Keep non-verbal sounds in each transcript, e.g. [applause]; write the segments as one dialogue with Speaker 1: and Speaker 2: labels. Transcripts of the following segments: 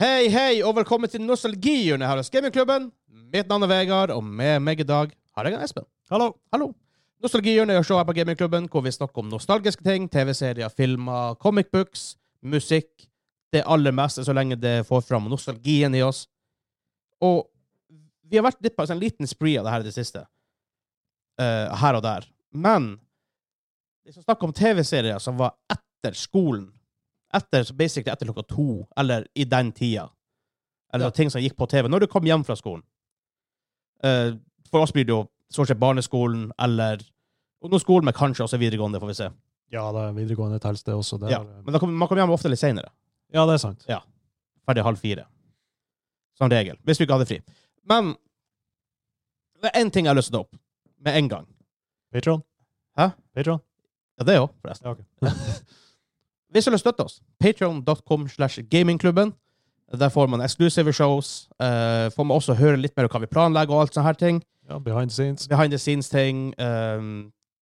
Speaker 1: Hei, hei, og velkommen til Nostalgihjørnet her hos Gamingklubben. Mitt navn er Vegard, og med meg i dag har jeg en Espen.
Speaker 2: Hallo.
Speaker 1: Hallo. Nostalgihjørnet er showet her på Gamingklubben hvor vi snakker om nostalgiske ting, TV-serier, filmer, comic books, musikk. Det aller meste, så lenge det får fram nostalgien i oss. Og vi har vært litt på en sånn liten spree av det her i det siste. Eh, her og der. Men hvis vi snakker om TV-serier som var etter skolen, etter, så basically etter klokka to, eller i den tida, eller
Speaker 2: Ja.
Speaker 1: ting som gikk på TV, når du kom hjem fra skolen Eh, For oss blir det jo stort sett barneskolen eller ungdomsskolen, men kanskje også videregående, får vi se.
Speaker 2: Ja, det er videregående telles det også. Det
Speaker 1: Ja.
Speaker 2: er,
Speaker 1: Men da kom, man kom hjem ofte litt seinere.
Speaker 2: ja, det er sant.
Speaker 1: ferdig halv fire. Som regel. Hvis du ikke hadde fri. Men det er én ting jeg har lyst til å ta opp med en gang.
Speaker 2: Patron?
Speaker 1: Hæ?
Speaker 2: Patron?
Speaker 1: Ja, det òg, forresten.
Speaker 2: Ja, ok.
Speaker 1: [laughs] Hvis du vil støtte oss, patreon.com slash gamingklubben. Der får man exclusive shows. eh, får man også høre litt mer om hva vi planlegger og alt sånne her ting.
Speaker 2: Ja, behind the scenes.
Speaker 1: Behind the scenes-ting, eh,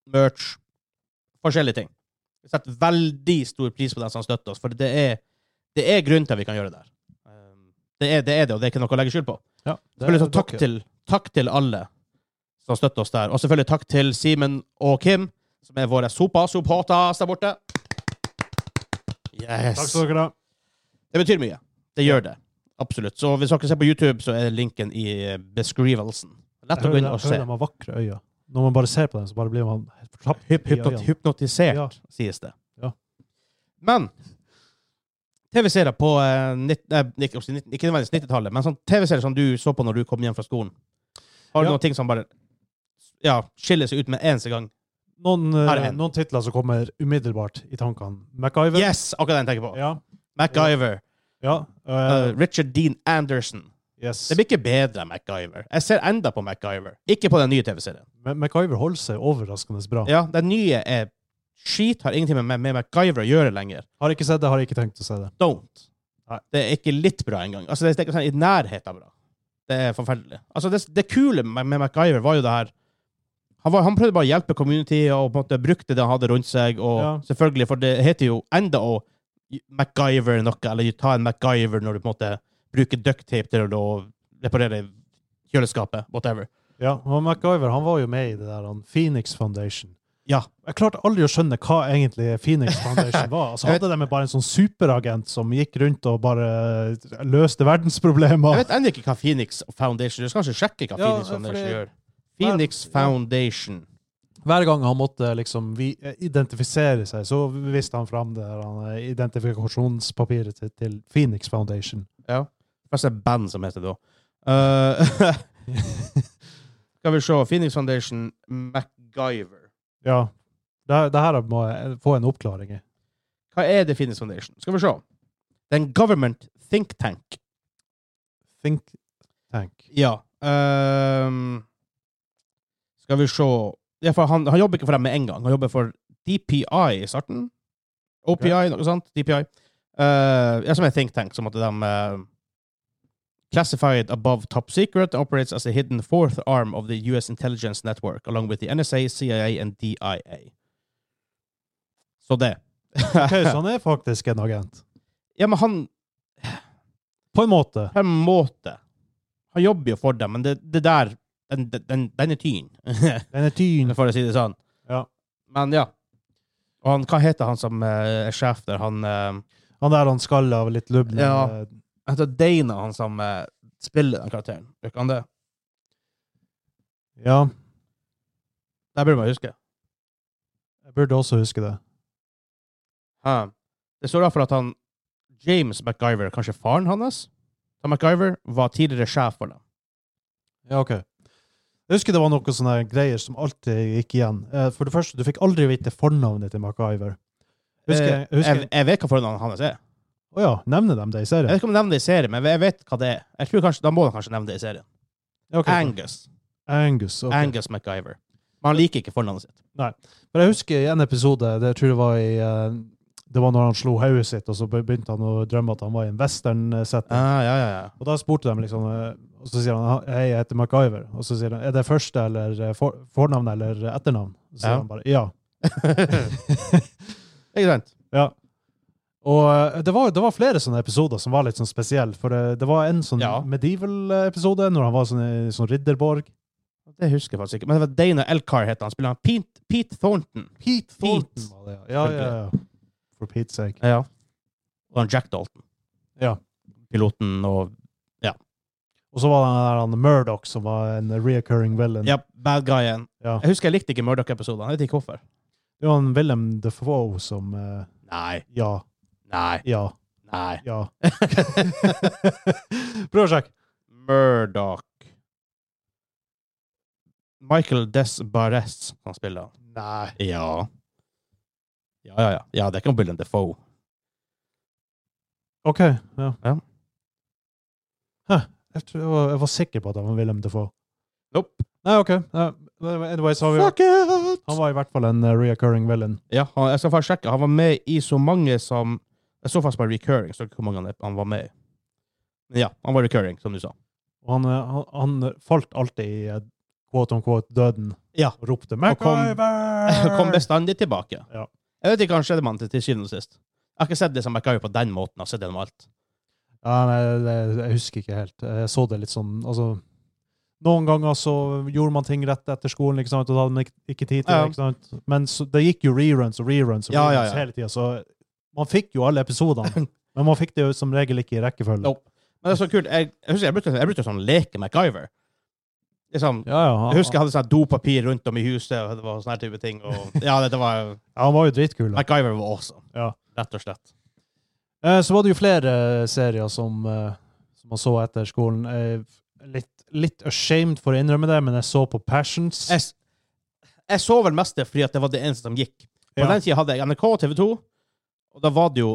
Speaker 1: merch, forskjellige ting. Vi setter veldig stor pris på dem som støtter oss, for det er, det er grunn til at vi kan gjøre det der. Eh, det, er, det er det, og det er ikke noe å legge skjul på.
Speaker 2: Ja, det
Speaker 1: Selvfølgelig så takk
Speaker 2: dere.
Speaker 1: til, takk til alle som støtter oss der. Og selvfølgelig takk til Simen og Kim, som er våre sopa-sopatas der borte. Yes.
Speaker 2: Takk skal dere ha.
Speaker 1: Det betyr mye. Det gjør det. Absolutt. Så hvis dere ser på YouTube, så er linken i beskrivelsen.
Speaker 2: Jeg
Speaker 1: Lett å
Speaker 2: hører
Speaker 1: gå inn
Speaker 2: dem-
Speaker 1: og
Speaker 2: hører
Speaker 1: se.
Speaker 2: dem har vakre øyne. Når man bare ser på dem, så bare blir man helt fortapt
Speaker 1: Hyp-
Speaker 2: i
Speaker 1: hypnot-
Speaker 2: øynene.
Speaker 1: Hypnotisert,
Speaker 2: Ja.
Speaker 1: sies det.
Speaker 2: Ja.
Speaker 1: Men TV-serier på eh, nitt- eh, ikke ikke nødvendigvis 90-tallet, men sånn TV-serier som du så på når du kom hjem fra skolen. Har du
Speaker 2: Ja.
Speaker 1: noen ting som bare ja, skiller seg ut med eneste gang?
Speaker 2: Noen,
Speaker 1: Her er
Speaker 2: eh,
Speaker 1: en.
Speaker 2: noen titler som kommer umiddelbart i tankene. MacGyver.
Speaker 1: Yes! Akkurat den jeg tenker på.
Speaker 2: Ja.
Speaker 1: MacGyver.
Speaker 2: ja.
Speaker 1: eh,
Speaker 2: eh,
Speaker 1: Richard Dean Anderson.
Speaker 2: yes.
Speaker 1: Det blir ikke bedre enn MacGyver. Jeg ser enda på MacGyver. Ikke på den nye TV-serien.
Speaker 2: Ma- MacGyver holder seg overraskende bra.
Speaker 1: Ja, Den nye er skit, har ingenting med, med MacGyver å gjøre lenger.
Speaker 2: Har ikke sett det, har ikke tenkt å se det.
Speaker 1: Don't.
Speaker 2: Nei.
Speaker 1: Det er ikke litt bra engang. Altså, det er ikke sånn i nærheten av bra. Det er forferdelig. Altså, det, det kule med, med MacGyver var jo det her han, var, han prøvde bare å hjelpe community og på en måte brukte det han hadde rundt seg. Og
Speaker 2: Ja.
Speaker 1: selvfølgelig, for det heter jo enda å MacGyver noe, eller ta en MacGyver når du på en måte bruker ducktape til å reparere kjøleskapet, whatever.
Speaker 2: Ja, og MacGyver han var jo med i det der han, Phoenix Foundation.
Speaker 1: Ja.
Speaker 2: Jeg klarte aldri å skjønne hva egentlig
Speaker 1: [laughs]
Speaker 2: Phoenix Foundation var. Altså,
Speaker 1: Jeg vet-
Speaker 2: hadde de bare en sånn superagent som gikk rundt og bare eh, løste
Speaker 1: Jeg
Speaker 2: verdensproblemer?
Speaker 1: vet ennå ikke hva Phoenix Foundation Du skal kanskje sjekke hva
Speaker 2: Ja,
Speaker 1: Phoenix Foundation
Speaker 2: fordi-
Speaker 1: gjør. Phoenix
Speaker 2: Ja.
Speaker 1: Foundation.
Speaker 2: Hver gang han måtte liksom vi, identifisere seg, så viste han fram det der, han, eh, identifikasjonspapiret til, til Phoenix Foundation.
Speaker 1: Først et band som heter det da. Eh, [laughs] skal vi se. Phoenix Foundation, MacGyver.
Speaker 2: Ja. Det, det her må jeg få en oppklaring i.
Speaker 1: Hva er det Phoenix Foundation? Skal vi se. Det er en government think tank.
Speaker 2: Think
Speaker 1: [laughs]
Speaker 2: tank.
Speaker 1: Ja. ehm, skal vi se. Ja, for han, han jobber ikke for dem med en gang. Han jobber for DPI i starten. OPI, noe sånt. DPI. Eh, ja, som er think tank, som at de eh, Classified above top secret operates as a hidden fourth arm of the US intelligence network, along with the NSA, CIA and DIA. Så det.
Speaker 2: Ok, så han er faktisk en agent.
Speaker 1: [laughs] ja, men han
Speaker 2: På en måte.
Speaker 1: på en måte Han jobber jo for dem, men det, det der den, den, den er [laughs] tynn,
Speaker 2: Den er tynn.
Speaker 1: for å si det sånn.
Speaker 2: Ja.
Speaker 1: Men ja. Og han, hva heter han som eh, er sjef der? Han eh,
Speaker 2: Han der han skalla og litt lubben.
Speaker 1: Ja.
Speaker 2: eh,
Speaker 1: Han heter Dana, han som eh, spiller den karakteren. Gjør ikke han det?
Speaker 2: ja.
Speaker 1: Det burde man huske.
Speaker 2: Jeg burde også huske det.
Speaker 1: Hæ. Det står derfor at han James MacGyver, kanskje faren hans, da MacGyver var tidligere sjef for dem.
Speaker 2: Ja, ok. Jeg husker det var noen sånne greier som alltid gikk igjen. Eh, For det første, du fikk aldri vite fornavnet til MacGyver. Husker jeg,
Speaker 1: Eh,
Speaker 2: husker
Speaker 1: jeg, jeg vet hva fornavnet hans er.
Speaker 2: Å ja, nevner de det i
Speaker 1: Jeg vet
Speaker 2: serien?
Speaker 1: ikke om de nevner det i serien, men jeg vet hva det er. Jeg tror kanskje, Da må de kanskje nevne det i serien.
Speaker 2: Ja, ok.
Speaker 1: Angus.
Speaker 2: Angus. ok.
Speaker 1: Angus MacGyver. Men han liker ikke fornavnet sitt.
Speaker 2: Men jeg husker i en episode, det jeg tror jeg det var i eh, Det var når han slo hodet sitt, og så be- begynte han å drømme at han var i en western-setting.
Speaker 1: Ah, ja, ja, ja.
Speaker 2: Og da spurte de liksom eh, Og så sier han hei, jeg heter MacGyver. Og så sier han er det første eller eh, for, fornavn eller eh, etternavn? Så sier
Speaker 1: Ja.
Speaker 2: han bare ja.
Speaker 1: Ikke sant?
Speaker 2: Ja. Og eh, det var, det var flere sånne episoder som var litt sånn spesielle. For eh, det var en sånn
Speaker 1: Ja.
Speaker 2: medieval-episode når han var sånn i sånn ridderborg.
Speaker 1: Det husker jeg faktisk ikke. Men det var Dana Elcar het han. Spiller han Pete, Pete Thornton.
Speaker 2: Pete
Speaker 1: Thornton
Speaker 2: var det, ja. Ja, ja, ja. For Pete's sake.
Speaker 1: Ja. Og han Jack Dalton.
Speaker 2: Ja.
Speaker 1: Piloten og
Speaker 2: Og så var det han der han Murdoch, som var en reoccurring villain.
Speaker 1: Ja, bad guyen.
Speaker 2: Ja.
Speaker 1: Jeg husker jeg likte ikke Murdoch-episodene. Jeg vet ikke hvorfor.
Speaker 2: Det var han Willem Defoe som eh,
Speaker 1: Nei,
Speaker 2: Ja,
Speaker 1: nei,
Speaker 2: ja,
Speaker 1: nei. [laughs]
Speaker 2: ja. Prøv å sjekke.
Speaker 1: Murdoch. Michael Desbarres han spiller.
Speaker 2: Nei.
Speaker 1: Ja. Ja, ja, ja. ja det er ikke William Defoe.
Speaker 2: OK. Ja.
Speaker 1: Ja.
Speaker 2: Hæ, jeg, tror jeg, var, jeg var sikker på at han var Willem Defoe.
Speaker 1: Nope.
Speaker 2: Nei, OK. Nei, Anyway, så har vi
Speaker 1: Fuck it!
Speaker 2: Han var i hvert fall en eh, reoccurring villain.
Speaker 1: Ja, han, jeg skal faktisk sjekke. Han var med i så mange som Jeg så faktisk bare recurring, så ikke hvor mange han, han var med i. Men ja, han var recurring, som du sa. [laughs]
Speaker 2: Og han, eh, han, han falt alltid i eh, quote on quote døden
Speaker 1: Ja.
Speaker 2: og ropte
Speaker 1: Og kom-
Speaker 2: MacGyver!
Speaker 1: [laughs] Kom bestandig tilbake.
Speaker 2: Ja.
Speaker 1: Jeg vet ikke hva skjedde med han til, til syvende og sist. Jeg har ikke sett det som MacGyver på den måten. Jeg har sett det med alt.
Speaker 2: ja, nei, det, jeg husker ikke helt. Jeg så det litt sånn altså, Noen ganger så gjorde man ting rett etter skolen, ikke sant, og da hadde man ikke, ikke tid til det.
Speaker 1: Ja.
Speaker 2: ikke sant? Men så, det gikk jo reruns og reruns og reruns
Speaker 1: Ja, ja, ja.
Speaker 2: hele tida, så man fikk jo alle
Speaker 1: [laughs]
Speaker 2: episodene. men man fikk det jo som regel ikke i rekkefølge.
Speaker 1: Nope. Men det er så kult. Jeg, jeg husker jeg brukte, jeg brukte sånn leke MacGyver. Liksom,
Speaker 2: Ja, ja, han,
Speaker 1: jeg husker jeg hadde sånn dopapir rundt om i huset, og det var sånne her type ting.
Speaker 2: [laughs]
Speaker 1: Og, ja, det, det var
Speaker 2: ja, han var jo dritkul. da.
Speaker 1: MacGyver var awesome.
Speaker 2: Ja.
Speaker 1: Rett og slett.
Speaker 2: Eh, Så var det jo flere eh, serier som, eh, som man så etter skolen. Eh, Litt, litt ashamed for å innrømme det, men jeg så på Passions.
Speaker 1: Jeg, s- jeg så vel mest det fordi at det var det eneste som gikk. På
Speaker 2: Ja.
Speaker 1: den tida hadde jeg NRK og TV 2, og da var det jo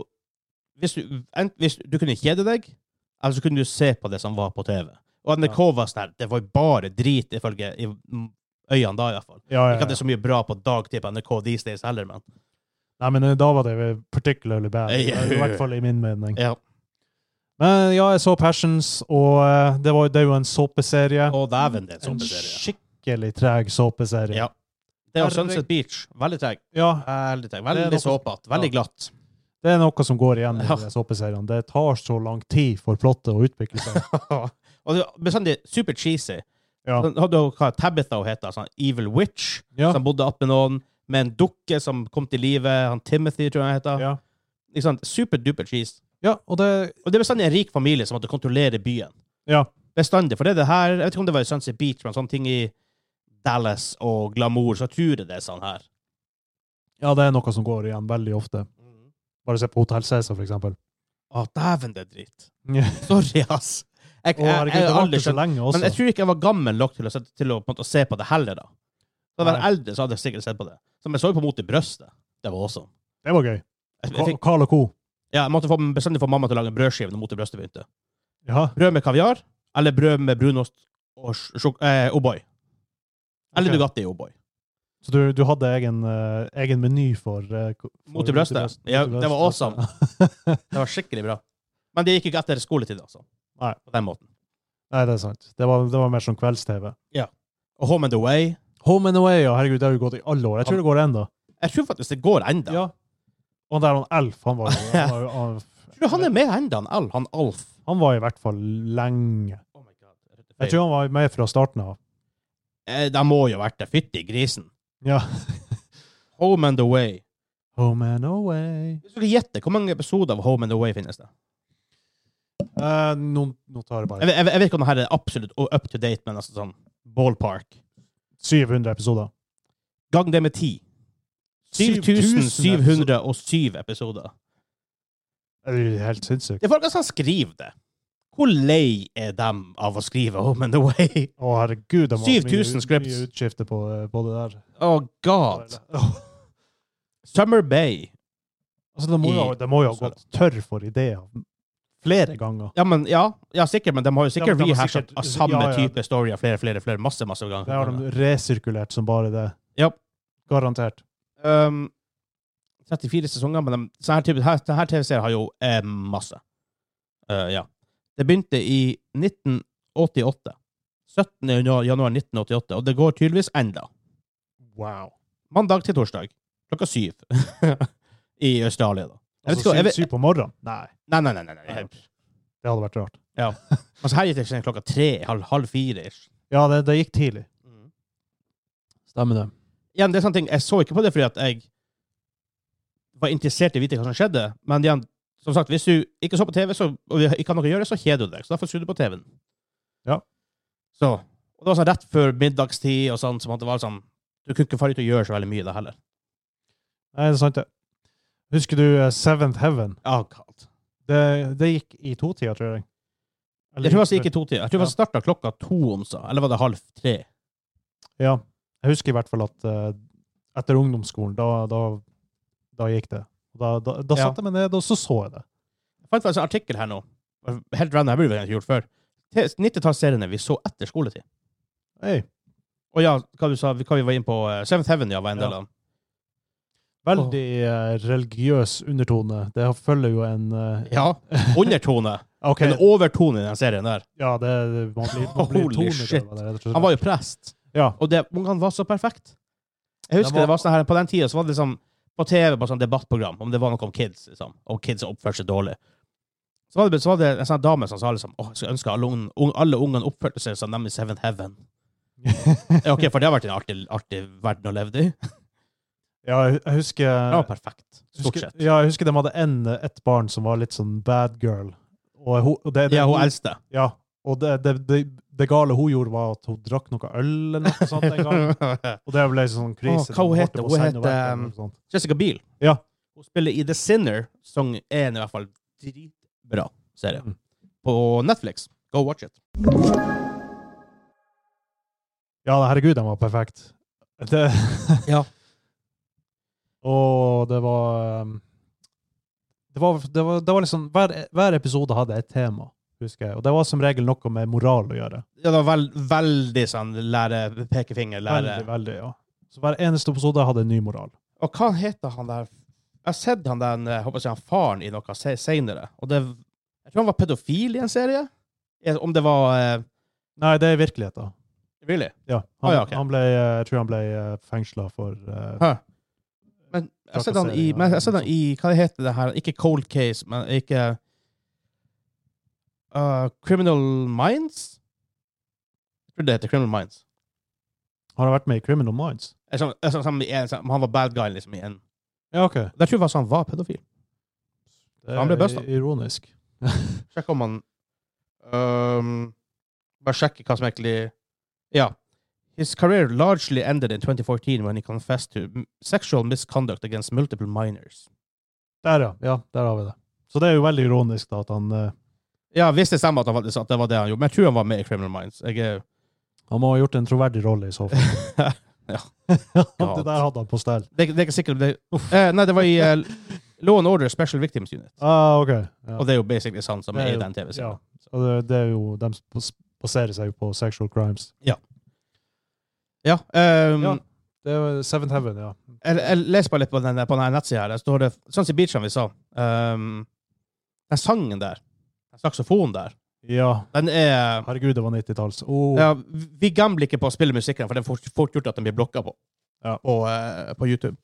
Speaker 1: hvis du, ent, hvis du kunne kjede deg, eller så kunne du se på det som var på TV. Og NRK var sånn her, det var jo bare drit, ifølge i m- øynene da, iallfall.
Speaker 2: Ja, ja,
Speaker 1: Ikke at det
Speaker 2: ja.
Speaker 1: er så mye bra på dagtid på NRK these days heller, men
Speaker 2: Nei, men eh, da var det jo particularly bad.
Speaker 1: Eh, ja.
Speaker 2: I hvert fall i min mening.
Speaker 1: ja.
Speaker 2: Men ja, jeg så Passions, og eh, det, var, det er jo en såpeserie.
Speaker 1: Å, dæven, det er en
Speaker 2: En
Speaker 1: såpeserie.
Speaker 2: skikkelig treg såpeserie.
Speaker 1: Ja. Det er
Speaker 2: Herregud.
Speaker 1: jo Sunset Beach. Veldig treg.
Speaker 2: Ja,
Speaker 1: Veldig treg.
Speaker 2: Det er
Speaker 1: Veldig
Speaker 2: noe-
Speaker 1: såpete. Veldig glatt.
Speaker 2: det er noe som går igjen i
Speaker 1: Ja.
Speaker 2: de såpeseriene. Det tar så lang tid for plottet å
Speaker 1: [laughs]
Speaker 2: utvikle seg.
Speaker 1: og det var bestandig super cheesy.
Speaker 2: Ja.
Speaker 1: Sånn, hadde jo hva Tabitha hun heter, sånn Evil Witch,
Speaker 2: Ja.
Speaker 1: som bodde oppe med noen, med en dukke som kom til live, han Timothy, tror jeg han heter.
Speaker 2: Ja.
Speaker 1: Ikke sant? Super duper cheese.
Speaker 2: ja, og det
Speaker 1: Og det er bestandig en rik familie som måtte kontrollere byen.
Speaker 2: Ja.
Speaker 1: Bestandig, for det er det her, jeg vet ikke om det var i Sunset Beach, men sånne ting i Dallas og Glamour, så tror jeg det er sånn her.
Speaker 2: Ja, det er noe som går igjen veldig ofte. Bare se på Hotell Cæsar, for eksempel.
Speaker 1: Å, dæven, det er dritt.
Speaker 2: Ja.
Speaker 1: Sorry, ass. Jeg,
Speaker 2: Å,
Speaker 1: jeg, jeg,
Speaker 2: herregud, det
Speaker 1: har
Speaker 2: var
Speaker 1: aldri
Speaker 2: ikke så
Speaker 1: skjønt.
Speaker 2: lenge
Speaker 1: Men
Speaker 2: også.
Speaker 1: jeg tror ikke jeg var gammel nok til å, sette- til å, på en måte, se på det heller, da. Da jeg var
Speaker 2: Nei.
Speaker 1: eldre, så hadde jeg sikkert sett på det. Som jeg så jo på Mot i brøstet. Det var awesome.
Speaker 2: Det var gøy.
Speaker 1: Jeg, jeg
Speaker 2: Ka-
Speaker 1: fikk
Speaker 2: Carl og co.
Speaker 1: Ja, jeg måtte få, bestandig få mamma til å lage en brødskive når mot i brøstet begynte.
Speaker 2: Ja.
Speaker 1: Brød med kaviar, eller brød med brunost og sj- sjok- eh, O'boy. Eller
Speaker 2: Ok.
Speaker 1: Nugatti O'boy.
Speaker 2: Så du, du hadde egen, eh, egen meny for eh, ko- for
Speaker 1: Mot i brøstet.
Speaker 2: mot i
Speaker 1: Ja,
Speaker 2: brøstet.
Speaker 1: det var
Speaker 2: [laughs]
Speaker 1: awesome. Det var skikkelig bra. Men det gikk ikke etter skoletid, altså.
Speaker 2: Nei.
Speaker 1: På den måten.
Speaker 2: Nei, det er sant. Det var, det var mer sånn kvelds-TV.
Speaker 1: Og Home and Away.
Speaker 2: Home and Away, ja, herregud, det har jo gått i alle år. Jeg tror det går enda.
Speaker 1: Jeg tror faktisk det går enda.
Speaker 2: Ja. Og han der han Alf, han
Speaker 1: [laughs]
Speaker 2: var, jo- han var, jo- han,
Speaker 1: Jeg tror han er med enda, han Al. Han Alf.
Speaker 2: han var i hvert fall lenge.
Speaker 1: Oh my God.
Speaker 2: Jeg tror han var med fra starten av.
Speaker 1: Eh, det må jo ha vært det. Fytti grisen.
Speaker 2: Ja.
Speaker 1: Home and Away.
Speaker 2: Home and Away.
Speaker 1: Hvis du kan gjette, hvor mange episoder av Home and Away finnes det?
Speaker 2: Eh, nå, nå tar jeg
Speaker 1: Jeg,
Speaker 2: bare
Speaker 1: vet- jeg, vet- jeg vet ikke om det her er absolutt up to date, men altså sånn ballpark.
Speaker 2: 700 episoder.
Speaker 1: Gang det med ti.
Speaker 2: 7700
Speaker 1: 7707 episoder.
Speaker 2: Det er jo helt sinnssykt.
Speaker 1: Det er folkene som skriver det. Hvor lei er dem av å skrive Home and
Speaker 2: [laughs]
Speaker 1: Away?
Speaker 2: Å, herregud, det var
Speaker 1: 7000
Speaker 2: mye,
Speaker 1: scripts.
Speaker 2: mye utskifte på, eh, på det der.
Speaker 1: Oh god. Summer Bay.
Speaker 2: Altså, det må jo,
Speaker 1: I-
Speaker 2: det må jo ha gått tørr for ideer flere ganger.
Speaker 1: Ja, men, ja, ja sikkert, men de har jo
Speaker 2: Ja, men
Speaker 1: sikkert
Speaker 2: de har
Speaker 1: rehasha
Speaker 2: sikkert-
Speaker 1: av samme
Speaker 2: ja, ja.
Speaker 1: type storyer flere, flere, flere, masse, masse
Speaker 2: Det har
Speaker 1: ganger.
Speaker 2: de resirkulert som bare det.
Speaker 1: Ja.
Speaker 2: Garantert.
Speaker 1: Um, 34 sesonger, men de, så her, type, her, det her TV-serien har jo eh, masse. Eh, ja. Det begynte i 1988. 17. januar januar 1988, og det går tydeligvis enda.
Speaker 2: Wow.
Speaker 1: mandag til torsdag klokka syv [laughs] i Australia. da. Jeg vet ikke, hva- jeg
Speaker 2: altså,
Speaker 1: vet,
Speaker 2: syv, syv på morgenen? Nei,
Speaker 1: nei, nei, nei, nei, nei.
Speaker 2: det hadde vært rart.
Speaker 1: Altså, her gikk det klokka tre, halv, halv fire. ish.
Speaker 2: Ja, det, det gikk tidlig. Stemmer det.
Speaker 1: Igjen, det er sånne ting, Jeg så ikke på det fordi at jeg var interessert i å vite hva som skjedde. Men igjen, som sagt, hvis du ikke så på TV, så, og vi ikke har noe å gjøre, så kjeder du deg. Så derfor skrur du på TV-en.
Speaker 2: Ja.
Speaker 1: Så, og det var sånn rett før middagstid og sånn, som at det var sånn, du kunne ikke fare ut og gjøre så veldig mye da heller.
Speaker 2: Nei, det er sant, det. Husker du eh, Seventh Heaven?
Speaker 1: Ja, kaldt.
Speaker 2: Det, det gikk i totida, tror jeg.
Speaker 1: Jeg tror faktisk det gikk i to tider. Jeg tror
Speaker 2: Ja.
Speaker 1: faktisk det startet klokka to om seg, eller var det halv tre?
Speaker 2: Ja. Jeg husker i hvert fall at eh, etter ungdomsskolen, da, da, da gikk det. Da, da, da
Speaker 1: Ja.
Speaker 2: satte jeg meg ned, og så så jeg det.
Speaker 1: Jeg fant faktisk en artikkel her nå, helt random, jeg burde vel ikke gjort før. 90-tallsseriene vi så etter skoletid.
Speaker 2: Hey,
Speaker 1: Og ja, hva du sa, hva vi var inne på, eh, Seventh Heaven, ja, var en del
Speaker 2: Ja.
Speaker 1: av den.
Speaker 2: veldig eh, religiøs undertone. Det følger jo en eh,
Speaker 1: Ja, undertone.
Speaker 2: OK,
Speaker 1: En overtone i den serien der.
Speaker 2: ja, det, det- man blir, man
Speaker 1: Holy
Speaker 2: blir
Speaker 1: shit.
Speaker 2: tonedøv. av det, rett og slett.
Speaker 1: Han var jo prest,
Speaker 2: Ja.
Speaker 1: og det, ungene var så perfekt. Jeg husker
Speaker 2: Det var-
Speaker 1: det var sånn her, på den tiden så var det liksom, på TV, på sånn debattprogram, om det var noe om kids, liksom, om kids oppførte seg dårlig. Så var, det, så var det en sånn dame som sa liksom, åh, jeg skulle ønske alle, ungen- ung- alle ungene oppførte seg som dem i Seventh
Speaker 2: [laughs]
Speaker 1: Heaven. Ja, ok, for det har vært en artig, artig verden å leve i.
Speaker 2: ja, jeg jeg husker
Speaker 1: Det var perfekt, stort
Speaker 2: husker,
Speaker 1: sett.
Speaker 2: Ja, jeg husker de hadde en, et barn som var litt sånn bad girl. Og, hun, og det, det,
Speaker 1: Ja, hun eldste.
Speaker 2: ja, og det, det, det, det gale hun gjorde, var at hun drakk noe øl eller noe sånt en
Speaker 1: [laughs]
Speaker 2: gang. Og det ble sånn krise.
Speaker 1: Å, hva hun
Speaker 2: holdt
Speaker 1: heter?
Speaker 2: på å
Speaker 1: Hun
Speaker 2: sende
Speaker 1: heter,
Speaker 2: verken
Speaker 1: um,
Speaker 2: eller sånt.
Speaker 1: Jessica Biel.
Speaker 2: Ja.
Speaker 1: Hun spiller i The Sinner, som er en i hvert fall dritbra serie.
Speaker 2: Mm.
Speaker 1: På Netflix. Go watch it.
Speaker 2: Ja, herregud, den var perfekt. Det,
Speaker 1: Ja.
Speaker 2: [laughs] og det var um, det var, det var, det var liksom, hver, hver episode hadde et tema, husker jeg. Og det var som regel noe med moral å gjøre.
Speaker 1: Ja, det var vel- veldig sånn lære pekefinger,
Speaker 2: Veldig,
Speaker 1: lære
Speaker 2: veldig, ja. Så hver eneste episode hadde en ny moral.
Speaker 1: Og hva heter han der Jeg har sett han den, jeg håper jeg sier han faren i noe se- senere. Og det Jeg tror han var pedofil i en serie. Eh, Om det var eh,
Speaker 2: Nei, det er virkeligheten.
Speaker 1: Really?
Speaker 2: Ja, han,
Speaker 1: Ah, ja, ok.
Speaker 2: han ble, eh, jeg tror han ble fengsla for eh,
Speaker 1: Hæ? Men jeg har sett han i, men jeg har sett han i Hva det heter det her? Ikke Cold Case, men ikke uh, Criminal Minds? Jeg tror det heter Criminal Minds.
Speaker 2: Har han vært med i Criminal Minds?
Speaker 1: Jeg så- jeg så sammen i en, sammen, han var bad guy liksom i en
Speaker 2: Ja, OK.
Speaker 1: Jeg tror faktisk han var pedofil.
Speaker 2: Det
Speaker 1: Han ble busta.
Speaker 2: Ironisk.
Speaker 1: Sjekk om han um, Bare sjekke hva som egentlig Ja. His career largely ended in 2014 when he confessed to m- sexual misconduct against multiple minors.
Speaker 2: Der, ja. ja. Der har vi det. Så det er jo veldig ironisk da, at han eh,
Speaker 1: Ja, hvis det stemmer at, han faktisk, at det var det han gjorde. Men jeg tror han var med i Criminal Minds. Jeg er
Speaker 2: Han må ha gjort en troverdig rolle i så fall.
Speaker 1: [laughs] Ja.
Speaker 2: [laughs] det der hadde han på stell.
Speaker 1: Det, er- det er ikke sikkert det, eh, Nei, det var i eh, Law and Order Special Victims Unit.
Speaker 2: Ah, ok. Ja.
Speaker 1: Og det er jo basically han som
Speaker 2: Det er
Speaker 1: er i
Speaker 2: jo-
Speaker 1: den TV-serien.
Speaker 2: ja. Og det, det er jo, De bas- baserer seg jo på sexual crimes.
Speaker 1: Ja. ehm,
Speaker 2: Ja. Det er jo Seventh Heaven, ja.
Speaker 1: Jeg, jeg leser bare litt på den, på den her nettsida her. Der står det Sånn som i Beach, som vi sa. ehm, den sangen der, den saksofonen der,
Speaker 2: Ja,
Speaker 1: den er
Speaker 2: herregud, det var 90-talls. Oh.
Speaker 1: ja, Vi gambler ikke på å spille musikken, for det er fort, fort gjort at den blir blokka på
Speaker 2: Ja.
Speaker 1: på, eh, på YouTube.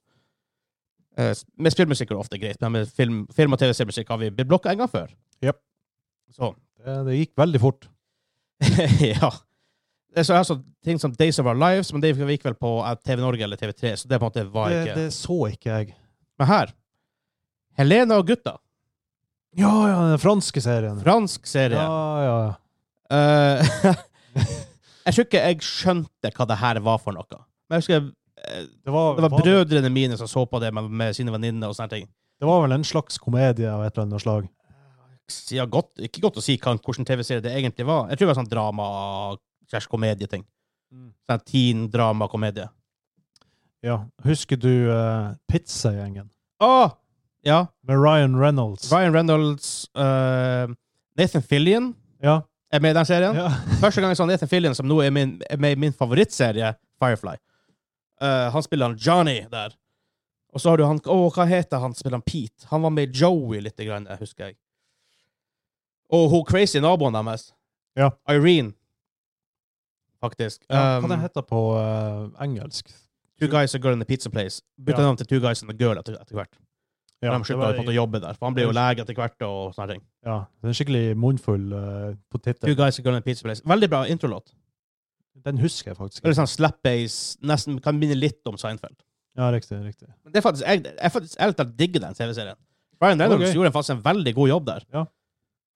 Speaker 1: Eh, s- med spillmusikk er det ofte greit, men med film, film og TV-seriemusikk har vi blitt blokka en gang før.
Speaker 2: Jep.
Speaker 1: Så
Speaker 2: Det, det gikk veldig fort.
Speaker 1: [laughs] ja. Det er så altså ting som Days of Our Lives, men det gikk vel på eh, TV Norge eller TV3, så det på en måte var
Speaker 2: Det,
Speaker 1: ikke
Speaker 2: det så ikke jeg.
Speaker 1: Men her Helena og gutta.
Speaker 2: Ja, ja, den franske serien.
Speaker 1: Fransk serie.
Speaker 2: Ja, ja, ja.
Speaker 1: Eh, [laughs] jeg tror ikke jeg skjønte hva det her var for noe. Men jeg husker eh, det var brødrene mine som så på det med, med sine venninner og sånne ting.
Speaker 2: Det var vel en slags komedie av et eller annet slag.
Speaker 1: Ja, godt, ikke godt å si hva, hvordan TV-serie det egentlig var. Jeg tror det var sånn drama-komedieting.
Speaker 2: Mm.
Speaker 1: Sånn teen-drama-komedie.
Speaker 2: Ja. Husker du uh, Pizzagjengen?
Speaker 1: Å! Ja.
Speaker 2: Med Ryan Reynolds.
Speaker 1: Ryan Reynolds, eh, Nathan Fillion
Speaker 2: Ja.
Speaker 1: er med i den serien.
Speaker 2: ja. [laughs]
Speaker 1: Første gang jeg så Nathan Fillion, som nå er, min, er med i min favorittserie, Firefly. Eh, han spiller han Johnny der. Og så har du han Å, hva heter han? Spiller han Pete? Han var med i Joey lite grann, jeg husker jeg. Og hun crazy naboen deres.
Speaker 2: Ja.
Speaker 1: Irene. Faktisk.
Speaker 2: Ja,
Speaker 1: Um,
Speaker 2: hva den heter på eh, engelsk?
Speaker 1: Two Guys and a Girl in a Pizza Place. Bytta
Speaker 2: Ja.
Speaker 1: navn til Two Guys and a Girl etter, etter hvert.
Speaker 2: Ja,
Speaker 1: de slutta jo på å jobbe der, for han ble jo lege etter hvert. og sånne ting.
Speaker 2: ja, det er en skikkelig munnfull eh, på
Speaker 1: Two
Speaker 2: tittelen.
Speaker 1: guys are gonna pizza place. Veldig bra introlåt.
Speaker 2: Den husker jeg faktisk.
Speaker 1: Veldig
Speaker 2: ikke.
Speaker 1: sånn slap-base, nesten kan minne litt om Seinfeld.
Speaker 2: Ja, riktig. riktig.
Speaker 1: Men det er faktisk, jeg, jeg faktisk ærlig talt digger den TV-serien. Brian Reynolds
Speaker 2: Ok.
Speaker 1: gjorde faktisk en veldig god jobb der.
Speaker 2: Ja.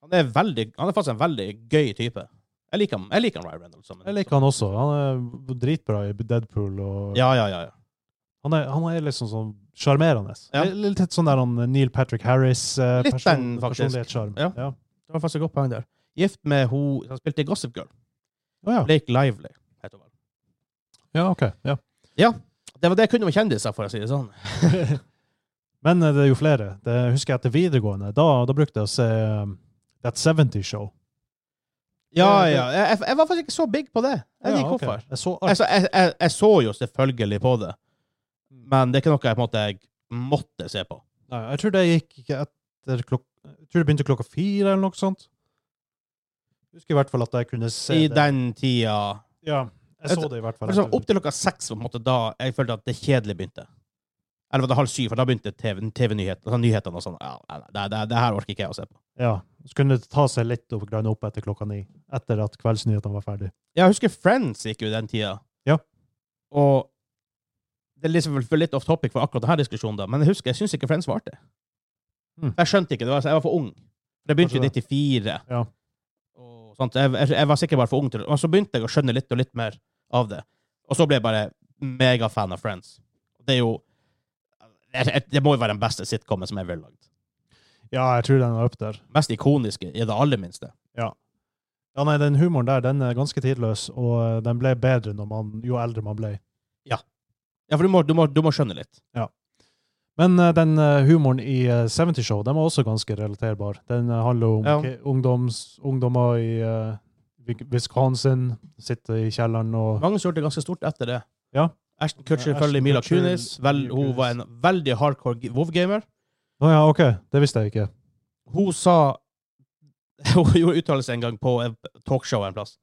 Speaker 1: Han, er veldig, han er faktisk en veldig gøy type. Jeg liker ham, jeg liker han Ryan Reynolds. som en-
Speaker 2: Jeg liker han også. Han er dritbra i Deadpool. og
Speaker 1: Ja, ja, ja. ja.
Speaker 2: han, er, han er liksom sånn sjarmerende.
Speaker 1: Ja.
Speaker 2: Litt- Litt sånn der han Neil Patrick Harris eh,
Speaker 1: Litt
Speaker 2: person,
Speaker 1: den, faktisk.
Speaker 2: personlighetssjarm.
Speaker 1: Ja.
Speaker 2: Ja.
Speaker 1: Det var faktisk et godt poeng der. Gift med hun som spilte i Gossip Girl.
Speaker 2: Å ja.
Speaker 1: Blake Lively, heter hun vel.
Speaker 2: ja, ok. Ja.
Speaker 1: Det var det jeg kunne om kjendiser, for å si det sånn.
Speaker 2: Men eh, det er jo flere. Det husker jeg etter videregående. Da, da brukte jeg å se um, That 70 Show.
Speaker 1: Ja,
Speaker 2: det-
Speaker 1: ja. Jeg, jeg, jeg var faktisk ikke så big på det. Jeg vet
Speaker 2: Ja,
Speaker 1: ikke
Speaker 2: ok.
Speaker 1: hvorfor.
Speaker 2: Jeg så alt.
Speaker 1: Altså, jeg, jeg, jeg så jo selvfølgelig på det,
Speaker 2: Mm.
Speaker 1: men det er ikke noe jeg på en måte jeg måtte se på.
Speaker 2: Nei, jeg tror det gikk ikke etter klok Jeg tror det begynte klokka fire eller noe sånt. Jeg husker i hvert fall at jeg kunne se
Speaker 1: I
Speaker 2: det.
Speaker 1: den tida
Speaker 2: Ja, jeg så
Speaker 1: Et-
Speaker 2: det i hvert fall.
Speaker 1: For sånn, opp til klokka seks var på en måte da jeg følte at det kjedelige begynte. Eller var det halv syv, for da begynte TV-nyhetene. TV -nyhet, altså nyhetene og sånn. Ja, nei, nei, det, det, det her orker ikke jeg å se på.
Speaker 2: Ja, Så kunne det ta seg litt opp, grann opp etter klokka ni, etter at kveldsnyhetene var ferdig.
Speaker 1: Jeg husker Friends gikk jo i den tida.
Speaker 2: Ja.
Speaker 1: Og det er liksom for litt off topic for akkurat denne diskusjonen, da, men jeg husker, jeg syns ikke Friends varte.
Speaker 2: Mm.
Speaker 1: Jeg skjønte ikke det. Var, jeg var for ung. Det begynte i
Speaker 2: Kanskje
Speaker 1: 94.
Speaker 2: Altså, Ja.
Speaker 1: Og sånt. Jeg, jeg, jeg var sikkert bare for ung til det. Og så begynte jeg å skjønne litt og litt mer av det. Og så ble jeg bare megafan av Friends. Det er jo det- Det må jo være den beste sitcomen som er vel lagd.
Speaker 2: Ja, jeg tror den var opp der.
Speaker 1: Mest ikoniske i det aller minste.
Speaker 2: Ja, nei, den humoren der, den er ganske tidløs, og eh, den ble bedre når man, jo eldre man ble.
Speaker 1: Ja, for du må, du må, du må skjønne litt.
Speaker 2: Men eh, den eh, humoren i eh, 70 Show, den var også ganske relaterbar. Den eh, handler om
Speaker 1: Ja.
Speaker 2: ki- ungdoms, ungdommer i eh, Wi- Wisconsin, sitter i kjelleren og
Speaker 1: Mange som gjorde det ganske stort etter det.
Speaker 2: Ja.
Speaker 1: Ashton Kutcher
Speaker 2: Ashton
Speaker 1: følger Mila
Speaker 2: Kutcher,
Speaker 1: Kunis. Vel,
Speaker 2: Mila
Speaker 1: hun
Speaker 2: Kunis.
Speaker 1: var en veldig hardcore WoW-gamer.
Speaker 2: Å ja, OK. Det visste jeg ikke.
Speaker 1: Hun sa [laughs] Hun gjorde uttalelse en gang på en talkshow en plass.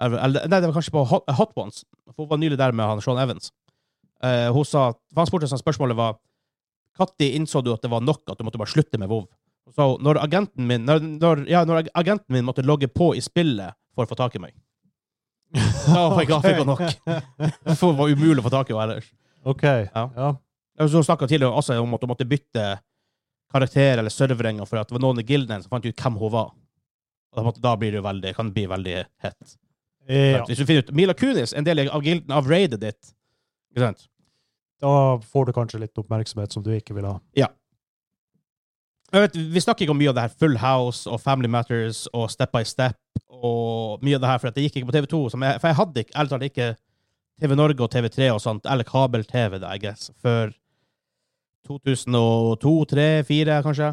Speaker 1: Eller, eller- nei, det var kanskje på Hot, eh, Hot Ones. For hun var nylig der med han Sean Evans. Eh, hun sa for Han spurte sånn spørsmålet var Når innså du at det var nok, at du måtte bare slutte med WoW? Hun sa når agenten min når, når, ja, når ag- agenten min måtte logge på i spillet for å få tak i meg. Da fikk hun- fikk hun nok. For det var umulig å få tak i henne ellers.
Speaker 2: [laughs] OK.
Speaker 1: Ja.
Speaker 2: Ja.
Speaker 1: Altså, Hun snakka tidligere også om at hun måtte bytte karakter eller serveringer for at det var noen i gilden hennes som fant ut hvem hun var. Og da, måtte, da blir det jo veldig, kan det bli veldig hett.
Speaker 2: Ja.
Speaker 1: Hvis du finner ut Mila Kunis, en del av gilden av raidet ditt ikke sant?
Speaker 2: Da får du kanskje litt oppmerksomhet som du ikke vil ha.
Speaker 1: Jeg vet, Vi snakker ikke om mye av det her Full House og Family Matters og Step by Step og mye av det her, for at det gikk ikke på TV2. Som jeg, for jeg hadde ikke, ærlig talt ikke TV Norge og TV3 og sånt, eller kabel-TV, da, I guess, før 2002, 2003, 2004, kanskje.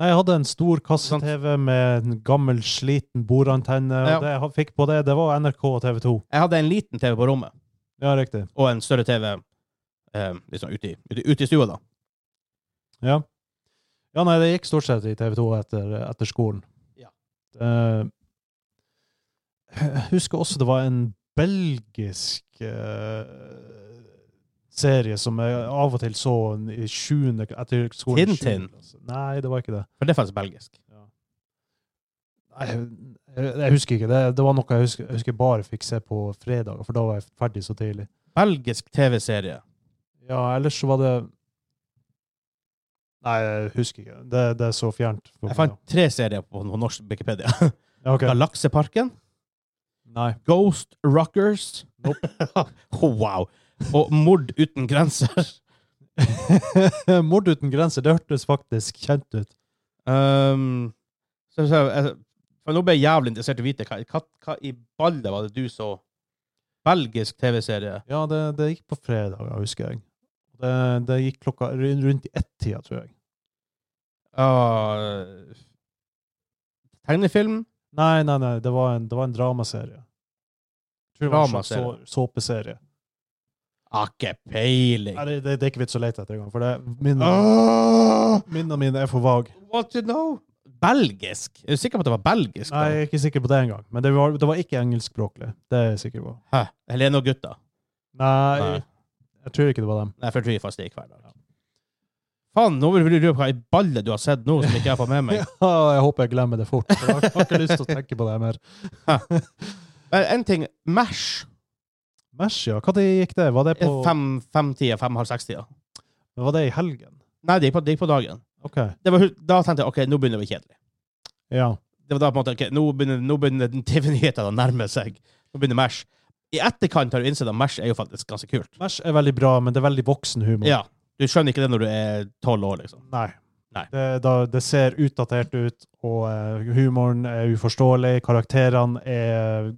Speaker 2: Nei, jeg hadde en stor kasse-TV med en gammel, sliten bordantenne.
Speaker 1: Ja.
Speaker 2: Og det jeg ha- fikk på det, det var NRK og TV 2.
Speaker 1: Jeg hadde en liten TV på rommet.
Speaker 2: Ja, riktig.
Speaker 1: og en større TV eh, liksom ute, i, ute, ute i stua, da.
Speaker 2: Ja. ja, nei, det gikk stort sett i TV 2 etter, etter skolen.
Speaker 1: Ja.
Speaker 2: Eh, jeg husker også det var en belgisk eh, serie som jeg av og til så i sjuende etter skolen. i
Speaker 1: Tintin?
Speaker 2: sjuende klasse. Nei, det var ikke det.
Speaker 1: For det er faktisk belgisk.
Speaker 2: Nei, jeg, jeg, jeg husker ikke. Det, det var noe jeg husker, jeg husker bare fikk se på fredager, for da var jeg ferdig så tidlig.
Speaker 1: Belgisk TV-serie.
Speaker 2: Ja, ellers så var det Nei, jeg husker ikke. Det, det er så fjernt. for
Speaker 1: Jeg
Speaker 2: meg
Speaker 1: fant tre serier på på norsk Wikipedia.
Speaker 2: nå. Ja, ok.
Speaker 1: Galakseparken,
Speaker 2: Nei.
Speaker 1: Ghost Rockers [laughs] oh, Wow! Og Mord uten grenser.
Speaker 2: [laughs] Mord uten grenser, det hørtes faktisk kjent ut.
Speaker 1: Um, så, så, jeg, for nå ble jeg jævlig interessert i å vite hva, hva, hva i balle var det du så? Belgisk TV-serie.
Speaker 2: Ja, det, det gikk på fredager, husker jeg. Det, det gikk klokka rund- rundt i ett-tida, tror jeg.
Speaker 1: Ah, tegnefilm.
Speaker 2: Nei, nei, nei, det var en, det var en dramaserie. Jeg tror det var en slags
Speaker 1: Dramaserie.
Speaker 2: så- såpeserie.
Speaker 1: Har Ah, ikke peiling.
Speaker 2: Nei, det, det, det er ikke vits å lete etter engang, for det, minnene,
Speaker 1: Ah!
Speaker 2: minnene mine er for vage.
Speaker 1: What to know? Belgisk? Er du sikker på at det var belgisk?
Speaker 2: Nei, jeg er ikke sikker på det engang. Men det var, det var ikke engelskspråklig. Det er jeg sikker på.
Speaker 1: Hæ? Helene og gutta?
Speaker 2: Nei,
Speaker 1: Nei.
Speaker 2: jeg tror ikke det var dem. [laughs]
Speaker 1: Nei, for jeg tror jeg faktisk det gikk hver dag. Faen, nå vil du lure på hva i balle du har sett nå som ikke jeg får med meg.
Speaker 2: [laughs] Ja, jeg håper jeg glemmer det fort. for Jeg har ikke lyst til å tenke på det mer.
Speaker 1: Men en ting, Mash,
Speaker 2: Mesh, ja. Når gikk det? Var det, på,
Speaker 1: fem- femtida, fem-halv seks-tida.
Speaker 2: var det i helgen?
Speaker 1: Nei, det gikk på, det gikk på dagen.
Speaker 2: OK.
Speaker 1: Det var, hu- da tenkte jeg ok, nå begynner det å bli kjedelig.
Speaker 2: Ja.
Speaker 1: Det var da på en måte, ok, nå begynner, nå begynner den TV-nyhetene å nærme seg. Nå begynner Mash. I etterkant har du innsett at Mash er jo faktisk ganske kult.
Speaker 2: Mesh er veldig bra, men det er veldig voksen humor.
Speaker 1: Ja, Du skjønner ikke det når du er tolv år, liksom.
Speaker 2: Nei.
Speaker 1: Nei.
Speaker 2: Det, da, det ser utdatert ut, og eh, humoren er uforståelig. Karakterene er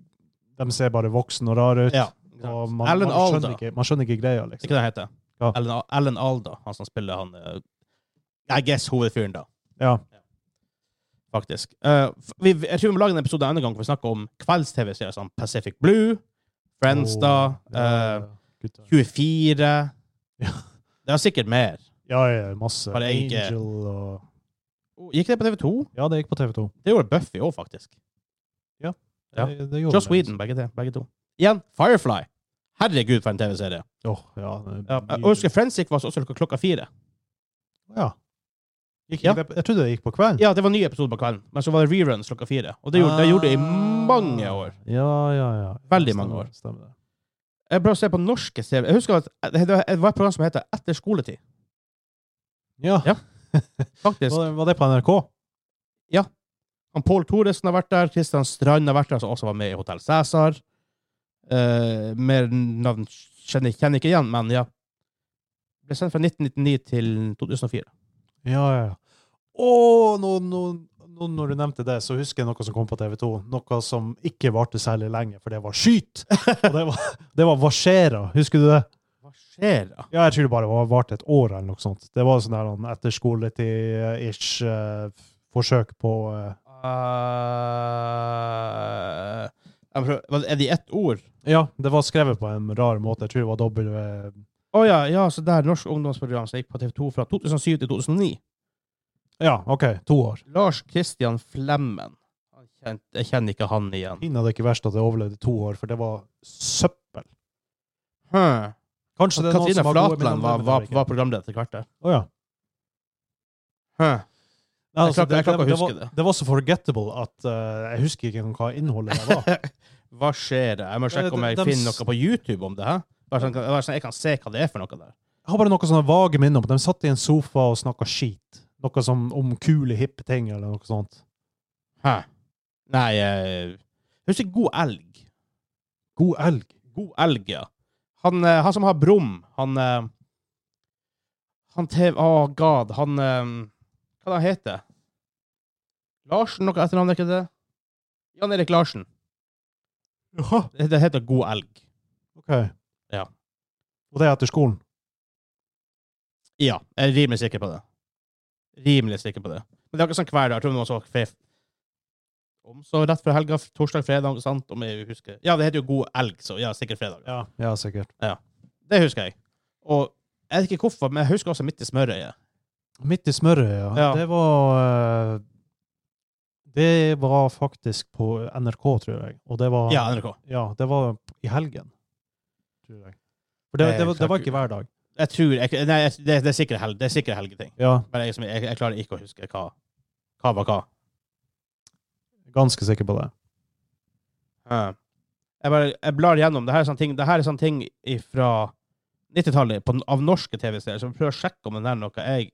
Speaker 2: De ser bare voksen og rare ut.
Speaker 1: Ja.
Speaker 2: Og
Speaker 1: Alan
Speaker 2: man, man,
Speaker 1: Alda.
Speaker 2: skjønner ikke, man skjønner ikke greia,
Speaker 1: Det er
Speaker 2: liksom.
Speaker 1: ikke det han heter?
Speaker 2: Ja.
Speaker 1: Alan, Alan Alda, han som spiller han eh, I guess hovedfyren, da,
Speaker 2: Ja.
Speaker 1: faktisk. Eh, f- vi, jeg tror vi må lage en episode en annen gang hvor vi snakker om kvelds-TV-serier som Pacific Blue, Friends, da,
Speaker 2: Åh, ja,
Speaker 1: eh,
Speaker 2: ja, gutter.
Speaker 1: 24
Speaker 2: Ja.
Speaker 1: Det er sikkert mer.
Speaker 2: Ja, ja, masse.
Speaker 1: Bare jeg ikke-
Speaker 2: Angel og
Speaker 1: Gikk det på TV2?
Speaker 2: Ja, det gikk på TV2.
Speaker 1: Det gjorde Buffy òg, faktisk. Ja.
Speaker 2: Det, det gjorde
Speaker 1: Joss
Speaker 2: det.
Speaker 1: Whedon, begge, te- begge to. Igjen, Firefly. Herregud, for en TV-serie.
Speaker 2: Åh, ja. det-
Speaker 1: Ja, jeg husker Forensic var også klokka
Speaker 2: [laughs]
Speaker 1: fire.
Speaker 2: Ja. Gikk,
Speaker 1: Ja.
Speaker 2: det- Jeg trodde det gikk på kvelden.
Speaker 1: Ja, det var nye episoder på kvelden, men så var det reruns klokka fire. Og det gjorde
Speaker 2: Ah.
Speaker 1: det gjorde det i mange år.
Speaker 2: Ja, ja, ja.
Speaker 1: Veldig
Speaker 2: Stemmer,
Speaker 1: mange år.
Speaker 2: Stemmer det.
Speaker 1: Jeg prøvde å se på norske TV. Jeg husker at det det var et program som heter Etter skoletid,
Speaker 2: Ja.
Speaker 1: Ja. faktisk.
Speaker 2: Var, det, var det på NRK?
Speaker 1: Han Pål Thoresen har vært der, Kristian Strand har vært der, som også var med i Hotell Cæsar. Eh, mer navn kjenner jeg kjenner jeg ikke igjen, men ja. Ble sendt fra 1999 til 2004.
Speaker 2: Ja, ja, ja. Å, nå, nå, nå når du nevnte det, så husker jeg noe som kom på TV2. Noe som ikke varte særlig lenge, for det var
Speaker 1: [laughs]
Speaker 2: skyt! Og det var, det var Varsera. Husker du det?
Speaker 1: Hva skjer da?
Speaker 2: Ja, jeg tror det bare var varte et år eller noe sånt. Det var sånn der han etterskoletid-ish eh, forsøk på eh,
Speaker 1: Eh, jeg prøver, hva- er det i ett ord?
Speaker 2: Ja, det var skrevet på en rar måte. Jeg tror det var W
Speaker 1: Å ja, ja, så der norsk ungdomsprogram som gikk på TV2 fra 2007 til 2009.
Speaker 2: Ja, OK. To år.
Speaker 1: Lars Christian Flemmen. Han kjent, jeg kjenner ikke han igjen.
Speaker 2: Pinadø ikke verst at jeg overlevde to år, for det var søppel.
Speaker 1: Huh.
Speaker 2: Kanskje det er noen
Speaker 1: Katrine
Speaker 2: som har gode
Speaker 1: Flatland var, var, var programleder til kvartet.
Speaker 2: Å ja.
Speaker 1: Huh.
Speaker 2: Nei, altså,
Speaker 1: Jeg klarer ikke- jeg klarer ikke å
Speaker 2: det,
Speaker 1: huske
Speaker 2: var,
Speaker 1: det.
Speaker 2: det var så forgettable at eh, jeg husker ikke engang hva innholdet det var.
Speaker 1: Hva skjer det? Jeg må sjekke om jeg
Speaker 2: Eh, De- de-
Speaker 1: finner noe på YouTube om det. hæ? Bare sånn, bare sånn, jeg kan se hva det er for noe der.
Speaker 2: Jeg har bare noe sånne vage minner om at de satt i en sofa og snakka skit. Noe som om kule, hippe ting eller noe sånt.
Speaker 1: Hæ? Nei eh, Husker God elg.
Speaker 2: God elg.
Speaker 1: God elg, ja. Han, eh, han som har Brum, han eh, Han TV... Å, god. Han eh, Hva er det han heter Larsen, noe etternavn, er ikke det? Jan Erik Larsen.
Speaker 2: Jaha.
Speaker 1: Det, det heter God elg.
Speaker 2: OK.
Speaker 1: Ja.
Speaker 2: Og det er etter skolen?
Speaker 1: Ja, jeg er rimelig sikker på det. Rimelig sikker på det. Men det er ikke sånn hver dag. Jeg tror det var så fe- om så rett før helga, torsdag, fredag, sant? om jeg husker. Ja, det heter jo God elg, så ja, sikkert fredag.
Speaker 2: Ja, ja sikkert.
Speaker 1: Det husker jeg. Og jeg vet ikke hvorfor, men jeg husker også midt i smørøyet.
Speaker 2: Midt i smørret, ja.
Speaker 1: Ja.
Speaker 2: Det var eh, Det var faktisk på NRK, tror jeg. Og det var,
Speaker 1: Ja, NRK.
Speaker 2: ja, det var i helgen. Tror jeg. Eh, For det,
Speaker 1: Nei,
Speaker 2: det, var, det var
Speaker 1: klart-
Speaker 2: ikke hver dag.
Speaker 1: Jeg tror jeg, Nei, jeg, det, det er sikkert helg, det er sikkert helgeting.
Speaker 2: Ja,
Speaker 1: Men jeg, som- jeg, jeg klarer ikke å huske hva Hva var hva.
Speaker 2: ganske sikker på det.
Speaker 1: Eh, Jeg, bare, jeg blar gjennom. Det her er sånne ting, det her er sånne ting fra 90-tallet på- av norske TV-serier, så jeg prøver å sjekke om den er noe jeg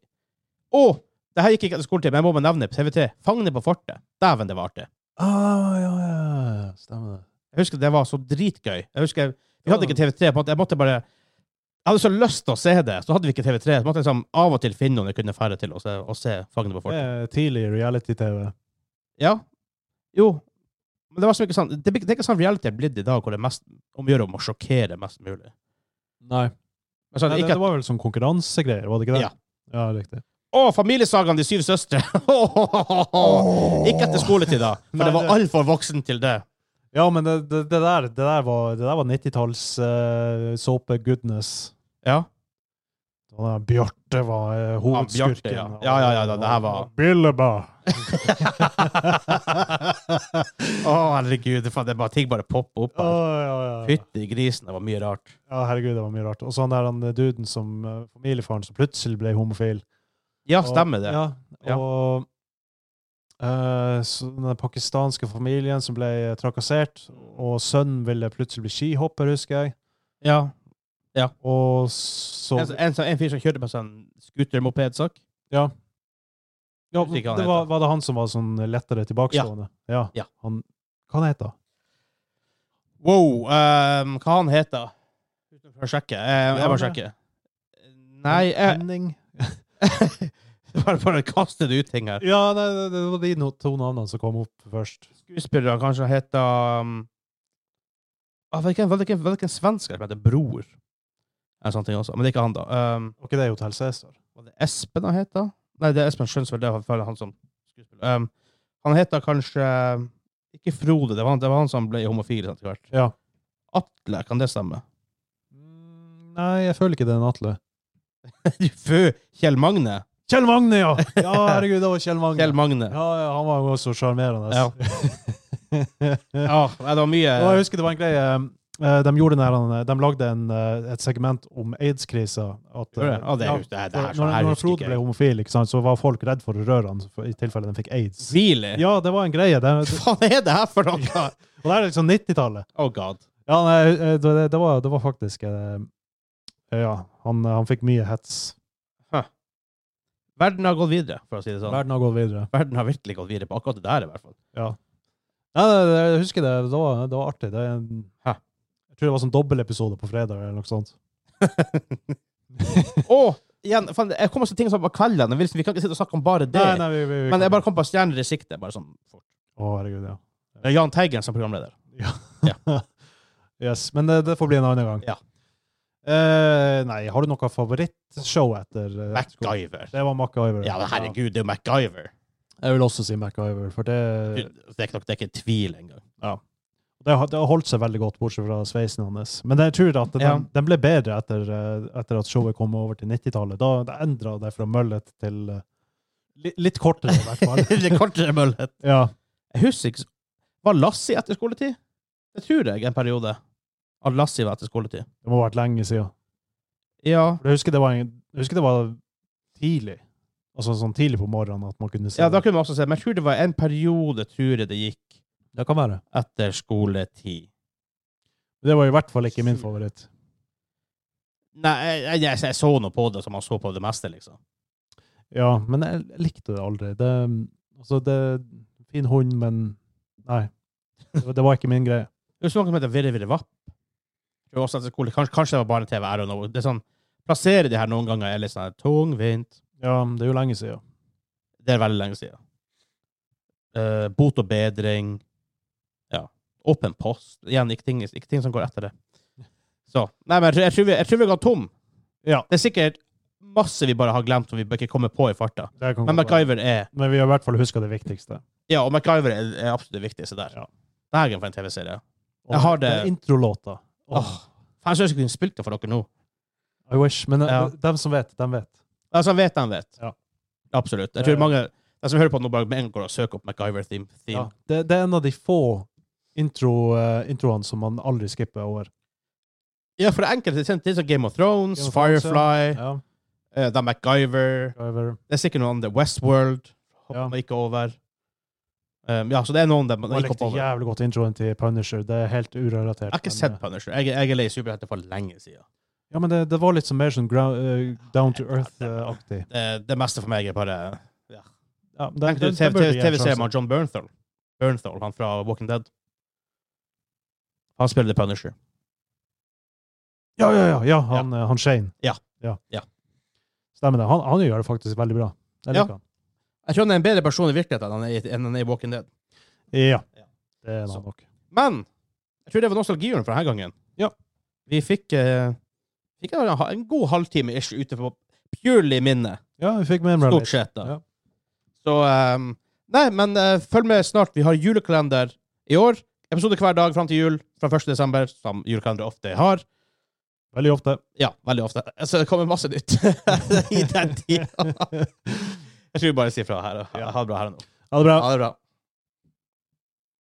Speaker 1: Å! det her gikk ikke etter skoletid, men jeg må bare nevne TV3. 'Fangene på fortet'. Dæven, det var artig.
Speaker 2: Ah, ja, ja, ja, stemmer det.
Speaker 1: Jeg husker det var så dritgøy. Jeg husker jeg, Vi hadde
Speaker 2: Ja.
Speaker 1: ikke TV3. på en måte, Jeg måtte bare Jeg hadde så lyst til å se det, så hadde vi ikke TV3. Så måtte jeg liksom av og til finne noen jeg kunne ferde til å se, å se 'Fangene på fortet'.
Speaker 2: det er tidlig reality-TV.
Speaker 1: Ja. Jo. Men det, var som ikke sånn, det, blir- det er ikke sånn reality er blitt i dag, hvor det er mest om å gjøre om å sjokkere mest mulig.
Speaker 2: Nei.
Speaker 1: Men sånn,
Speaker 2: det,
Speaker 1: ikke
Speaker 2: det
Speaker 1: at,
Speaker 2: var vel sånn konkurransegreier, var det ikke det?
Speaker 1: Ja.
Speaker 2: ja riktig.
Speaker 1: å, familiesagaen De syv søstre! [laughs] ikke etter skoletid, da. For
Speaker 2: Nei,
Speaker 1: det var
Speaker 2: det-
Speaker 1: altfor voksen til det.
Speaker 2: Ja, men det, det, det, der, det der var, det der var 90-talls eh, såpe goodness.
Speaker 1: Ja. [laughs]
Speaker 2: Og da Bjarte var eh, hovedskurken.
Speaker 1: Ja, Bjarte, ja. Ja, ja, ja, da, det her var-
Speaker 2: Billeba!
Speaker 1: Å, herregud. faen, Det er bare, ting bare popper opp.
Speaker 2: Å,
Speaker 1: her.
Speaker 2: ja, ja.
Speaker 1: Fytti grisen, det var mye rart.
Speaker 2: ja, herregud, det var mye rart. Og så han der han, duden som eh, familiefaren som eh, plutselig ble homofil.
Speaker 1: Ja, stemmer det.
Speaker 2: Ja,
Speaker 1: Ja.
Speaker 2: og eh, så den pakistanske familien som ble eh, trakassert, og sønnen ville plutselig bli skihopper, husker jeg.
Speaker 1: Ja.
Speaker 2: Og så
Speaker 1: En, en, som- en fyr som kjørte på sånn scooter-mopedsak.
Speaker 2: Ja. ja
Speaker 1: Husker ikke hva han
Speaker 2: det var, var det han som var sånn lettere tilbakestående? Ja.
Speaker 1: Ja.
Speaker 2: Han, hva han heter han?
Speaker 1: Wow, ehm, hva han heter Utenfor å sjekke. Eh, jeg må sjekke. Nei, jeg,
Speaker 2: Henning?
Speaker 1: [laughs] bare, bare kaste det ut ting her.
Speaker 2: [laughs] Ja, nei, det, det var de no- to navnene som kom opp først.
Speaker 1: Skuespillerne kanskje heter um, ah, hvilken, hvilken, hvilken svensker som heter Bror? Eller sånne ting også. Men det er ikke han, da. Um,
Speaker 2: Og ikke det er Hotell Cæsar.
Speaker 1: var det Espen han heter? Nei, det er Espen Skjønsvold. Det er i hvert fall han som skuespiller. Um, han heter kanskje Ikke Frode, det var han, det var han som ble homofil etter hvert.
Speaker 2: Ja.
Speaker 1: Atle, kan det stemme? [laughs]
Speaker 2: Mm, Nei, jeg føler ikke det er en Atle.
Speaker 1: Fø! Kjell Magne.
Speaker 2: Kjell Magne, ja! Ja, herregud, det var Kjell Magne.
Speaker 1: Kjell Magne.
Speaker 2: Ja, ja, han var jo også sjarmerende.
Speaker 1: Ja.
Speaker 2: [laughs]
Speaker 1: Ja, nei, det var mye
Speaker 2: Og jeg husker det var en greie eh, De, gjorde den her, de lagde en, eh, et segment om aids-krisa. At,
Speaker 1: Gjorde det?
Speaker 2: eh,
Speaker 1: Ja, det
Speaker 2: ja,
Speaker 1: hus- det- det her-
Speaker 2: for
Speaker 1: sånn her
Speaker 2: når, når
Speaker 1: husker ikke
Speaker 2: Frode
Speaker 1: jeg.
Speaker 2: ble homofil, ikke sant, så var folk redd for å røre han for, i tilfelle de fikk aids.
Speaker 1: Really?
Speaker 2: Ja, det var en greie. Det,
Speaker 1: Hva faen er det her [laughs] for noe?
Speaker 2: og det er liksom 90-tallet.
Speaker 1: Oh god.
Speaker 2: Ja, nei, eh, det, det- det, var, det var faktisk eh, Ja, han, han fikk mye hets.
Speaker 1: Verden har gått videre, for å si det sånn.
Speaker 2: Verden har gått videre.
Speaker 1: Verden har virkelig gått videre på akkurat det der, i hvert fall.
Speaker 2: Nei, nei, nei, jeg husker det. Det var, det var artig. Det, er en-
Speaker 1: Hæ?
Speaker 2: jeg tror det var sånn dobbeltepisode på fredag eller noe sånt.
Speaker 1: Og igjen, faen, jeg kommer til ting som på kveldene. Vi vi kan ikke sitte og snakke om bare det.
Speaker 2: Nei, nei, vi, vi, vi
Speaker 1: Men jeg bare kom på stjerner i sikte. bare sånn fort.
Speaker 2: Å, herregud, ja.
Speaker 1: Det er Jahn Teigen som programleder.
Speaker 2: Yes, men det, det får bli en annen gang.
Speaker 1: Ja.
Speaker 2: Eh, nei, har du noe favorittshow etter eh, etter-
Speaker 1: MacGyver.
Speaker 2: Det var MacGyver.
Speaker 1: Ja, men herregud, det er jo MacGyver.
Speaker 2: Ja. Jeg vil også si MacGyver, for
Speaker 1: Det
Speaker 2: det,
Speaker 1: er ikke, nok- det er ikke tvil engang.
Speaker 2: det, har, det har holdt seg veldig godt, bortsett fra sveisen hans. Men jeg tror at den,
Speaker 1: Ja.
Speaker 2: den ble bedre etter, eh, etter at showet kom over til 90-tallet. Da det endra det fra møllet til eh, li, litt kortere, i hvert fall.
Speaker 1: [laughs] det er kortere møllet.
Speaker 2: ja.
Speaker 1: Jeg husker ikke Var Lassie etter skoletid? Det tror jeg en periode. At Lassie var etter skoletid.
Speaker 2: Det må ha vært lenge siden.
Speaker 1: Ja.
Speaker 2: For Jeg husker det var, en, jeg husker det var tidlig. Altså sånn tidlig på morgenen at man kunne se
Speaker 1: ja, da kunne man også se. Men jeg tror det var en periode tror jeg det gikk
Speaker 2: det kan være.
Speaker 1: etter skoletid.
Speaker 2: Det var i hvert fall ikke min favoritt.
Speaker 1: Nei, jeg, jeg, jeg, jeg så noe på det som man så på det meste, liksom.
Speaker 2: Ja, men jeg likte det aldri. Det, altså, det Fin hund, men Nei. Det, var- det var ikke min greie.
Speaker 1: Det er jo noe som heter Virre Virre Vapp. Det er Også etter skole. Kanskje, kanskje det var barne-TV. I don't know. Det er sånn, Plassere de her noen ganger er litt sånn her tungvint.
Speaker 2: Ja, det er jo lenge siden.
Speaker 1: Det er veldig lenge siden. Eh, bot og bedring. Ja. Åpen post. Igjen, ikke ting, ikke ting som går etter det. Så. Nei, men jeg, tror- jeg, tror vi, jeg tror vi går tom.
Speaker 2: Ja.
Speaker 1: Det er sikkert masse vi bare har glemt, som vi ikke kommer på i farta.
Speaker 2: Det kan
Speaker 1: Men
Speaker 2: godt være.
Speaker 1: MacGyver er
Speaker 2: men vi har i hvert fall huska det viktigste.
Speaker 1: Ja, og MacGyver er, er absolutt det viktigste der.
Speaker 2: Ja.
Speaker 1: Det er for en TV-serie.
Speaker 2: Og
Speaker 1: Jeg har det-
Speaker 2: er Introlåta. Åh,
Speaker 1: Åh. Faen, jeg skulle ønske vi spilte den for dere nå.
Speaker 2: I wish. Men eh,
Speaker 1: Ja.
Speaker 2: dem som vet, dem vet.
Speaker 1: Altså, han vet han vet.
Speaker 2: Ja.
Speaker 1: Absolutt. Jeg
Speaker 2: Det-
Speaker 1: tror mange de som hører på nå, bare med en gang går og søker opp MacGyver-theme.
Speaker 2: Ja. Det, det er en av de få intro, eh, introene som man aldri skipper over.
Speaker 1: Ja, for enkelte ting det er sånn Game of Thrones,
Speaker 2: Game of Thrones,
Speaker 1: Firefly,
Speaker 2: Ja,
Speaker 1: eh, det er MacGyver
Speaker 2: MacGyver.
Speaker 1: Det er sikkert noen andre. Westworld hopper
Speaker 2: Ja.
Speaker 1: man ikke over. Um, ja, så det er noen der man
Speaker 2: Og Jeg
Speaker 1: ikke
Speaker 2: likte
Speaker 1: hopper over.
Speaker 2: jævlig godt introen til Punisher. Det er helt urelatert.
Speaker 1: Jeg har ikke
Speaker 2: men, eh,
Speaker 1: sett Punisher. Jeg, jeg er lei superhelter for lenge siden.
Speaker 2: Ja, men det, det var litt sånn mer sånn ground, eh, down to earth-aktig.
Speaker 1: Det, det meste for meg er bare
Speaker 2: Ja, det-
Speaker 1: Tenk du
Speaker 2: det- det burde gi en
Speaker 1: TV-serien
Speaker 2: sjanse.
Speaker 1: med John Bernthal. Bernthal, han fra Walking Dead. Han spiller The Punisher.
Speaker 2: Ja, ja, ja. ja han, eh, han Shane.
Speaker 1: Ja. Ja.
Speaker 2: ja. Stemmer det. Han, han gjør det faktisk veldig bra. Jeg
Speaker 1: Ja.
Speaker 2: liker han.
Speaker 1: Jeg tror han er en bedre person i virkeligheten enn han er i- enn han er i Walking Dead.
Speaker 2: Ja.
Speaker 1: Ja.
Speaker 2: Det er
Speaker 1: Så.
Speaker 2: han nok.
Speaker 1: Men jeg tror det var nostalgihjørnet for denne gangen.
Speaker 2: Ja.
Speaker 1: Vi fikk, eh, fikk en, en god halvtime ish ute på purely minne,
Speaker 2: Ja, vi fikk med en
Speaker 1: stort
Speaker 2: relief.
Speaker 1: sett. da.
Speaker 2: Ja.
Speaker 1: Så eh, Nei, men eh, følg med snart. Vi har julekalender i år. Episode hver dag fram til jul fra 1. desember, som julekalendere ofte har.
Speaker 2: Veldig ofte.
Speaker 1: Ja, veldig ofte. Så det kommer masse nytt [laughs] i
Speaker 2: [laughs]
Speaker 1: den tida. Jeg tror vi bare sier fra her. Ha- Ha det bra her og nå.
Speaker 2: Ha det bra.
Speaker 1: Ha det bra.